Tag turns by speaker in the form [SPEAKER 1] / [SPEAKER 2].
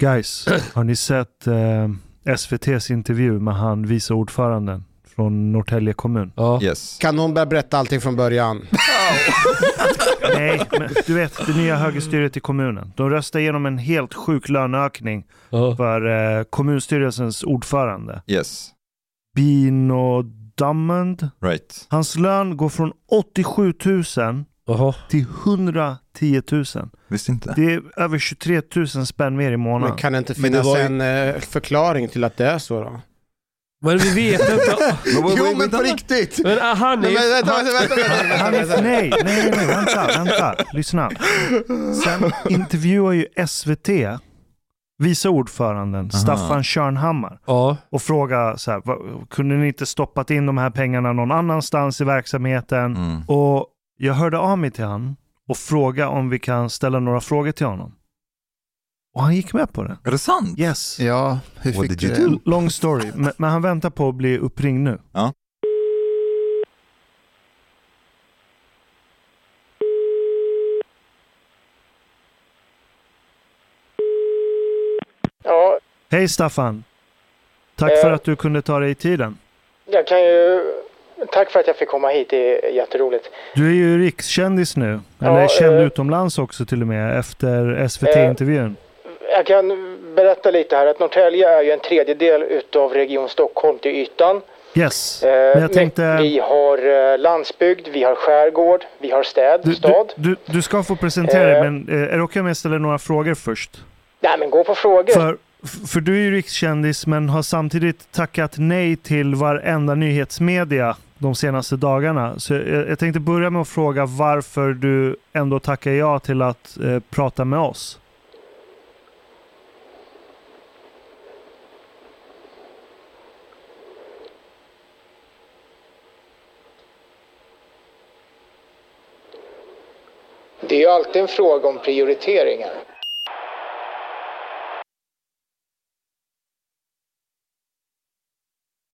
[SPEAKER 1] Guys, har ni sett eh, SVTs intervju med han vice ordföranden från Norrtälje kommun?
[SPEAKER 2] Ja.
[SPEAKER 3] Yes.
[SPEAKER 4] Kan hon börja berätta allting från början?
[SPEAKER 1] Nej, men du vet det nya högerstyret i kommunen. De röstade igenom en helt sjuk löneökning
[SPEAKER 2] Ja.
[SPEAKER 1] för eh, kommunstyrelsens ordförande.
[SPEAKER 3] Yes.
[SPEAKER 1] Bino Diamond.
[SPEAKER 3] Right.
[SPEAKER 1] Hans lön går från 87 000
[SPEAKER 2] Jaha.
[SPEAKER 1] till 110 000.
[SPEAKER 3] Visste inte.
[SPEAKER 1] Det är över 23 000 spänn mer i månaden.
[SPEAKER 4] Men kan det inte
[SPEAKER 2] Men det
[SPEAKER 4] finnas
[SPEAKER 2] var ju-
[SPEAKER 4] en eh, förklaring till att det är så då?
[SPEAKER 2] Men vi vet inte.
[SPEAKER 3] Men vad- vad- vänta.
[SPEAKER 4] riktigt!
[SPEAKER 2] Men ah, han är
[SPEAKER 4] Nej,
[SPEAKER 2] ju...
[SPEAKER 4] men vänta, vänta, vänta, vänta, vänta,
[SPEAKER 1] Han
[SPEAKER 4] vänta.
[SPEAKER 1] är, nej, nej, nej, vänta, vänta, lyssna. Sen intervjuar ju SVT vice ordföranden Staffan Körnhammar
[SPEAKER 2] Ja.
[SPEAKER 1] och frågar så här, "Va- kunde ni inte stoppat in de här pengarna någon annanstans i verksamheten?
[SPEAKER 3] Mm.
[SPEAKER 1] Och jag hörde av mig till han och fråga om vi kan ställa några frågor till honom. Och han gick med på det.
[SPEAKER 3] Är det sant?
[SPEAKER 1] Yes.
[SPEAKER 5] Ja, hur
[SPEAKER 3] What
[SPEAKER 5] fick
[SPEAKER 3] did
[SPEAKER 5] du
[SPEAKER 3] you
[SPEAKER 5] det?
[SPEAKER 3] do?
[SPEAKER 1] Long story, men, men han väntar på att bli uppringd nu.
[SPEAKER 6] Ja,
[SPEAKER 1] Hej Staffan! Tack för att du kunde ta dig tiden.
[SPEAKER 6] jag kan ju... Tack för att jag fick komma hit, det är jätteroligt.
[SPEAKER 1] Du är ju rikskändis nu, eller
[SPEAKER 6] Ja,
[SPEAKER 1] känd
[SPEAKER 6] eh.
[SPEAKER 1] utomlands också till och med efter SVT-intervjun.
[SPEAKER 6] Jag kan berätta lite här att Norrtälje är ju en tredjedel utav Region Stockholm till ytan.
[SPEAKER 1] Yes,
[SPEAKER 6] Eh,
[SPEAKER 1] men jag tänkte...
[SPEAKER 6] Vi har eh, landsbygd, vi har skärgård, vi har städ,
[SPEAKER 1] Du, du,
[SPEAKER 6] stad.
[SPEAKER 1] du, du ska få presentera dig,
[SPEAKER 6] Eh.
[SPEAKER 1] men eh, är det okej om jag ställer några frågor först?
[SPEAKER 6] Nej men gå på frågor.
[SPEAKER 1] För, f- för du är ju rikskändis, men har samtidigt tackat nej till varenda nyhetsmedia de senaste dagarna. Så jag, jag tänkte börja med att fråga varför du ändå tackar ja till att eh, prata med oss.
[SPEAKER 6] Det är ju alltid en fråga om prioriteringar.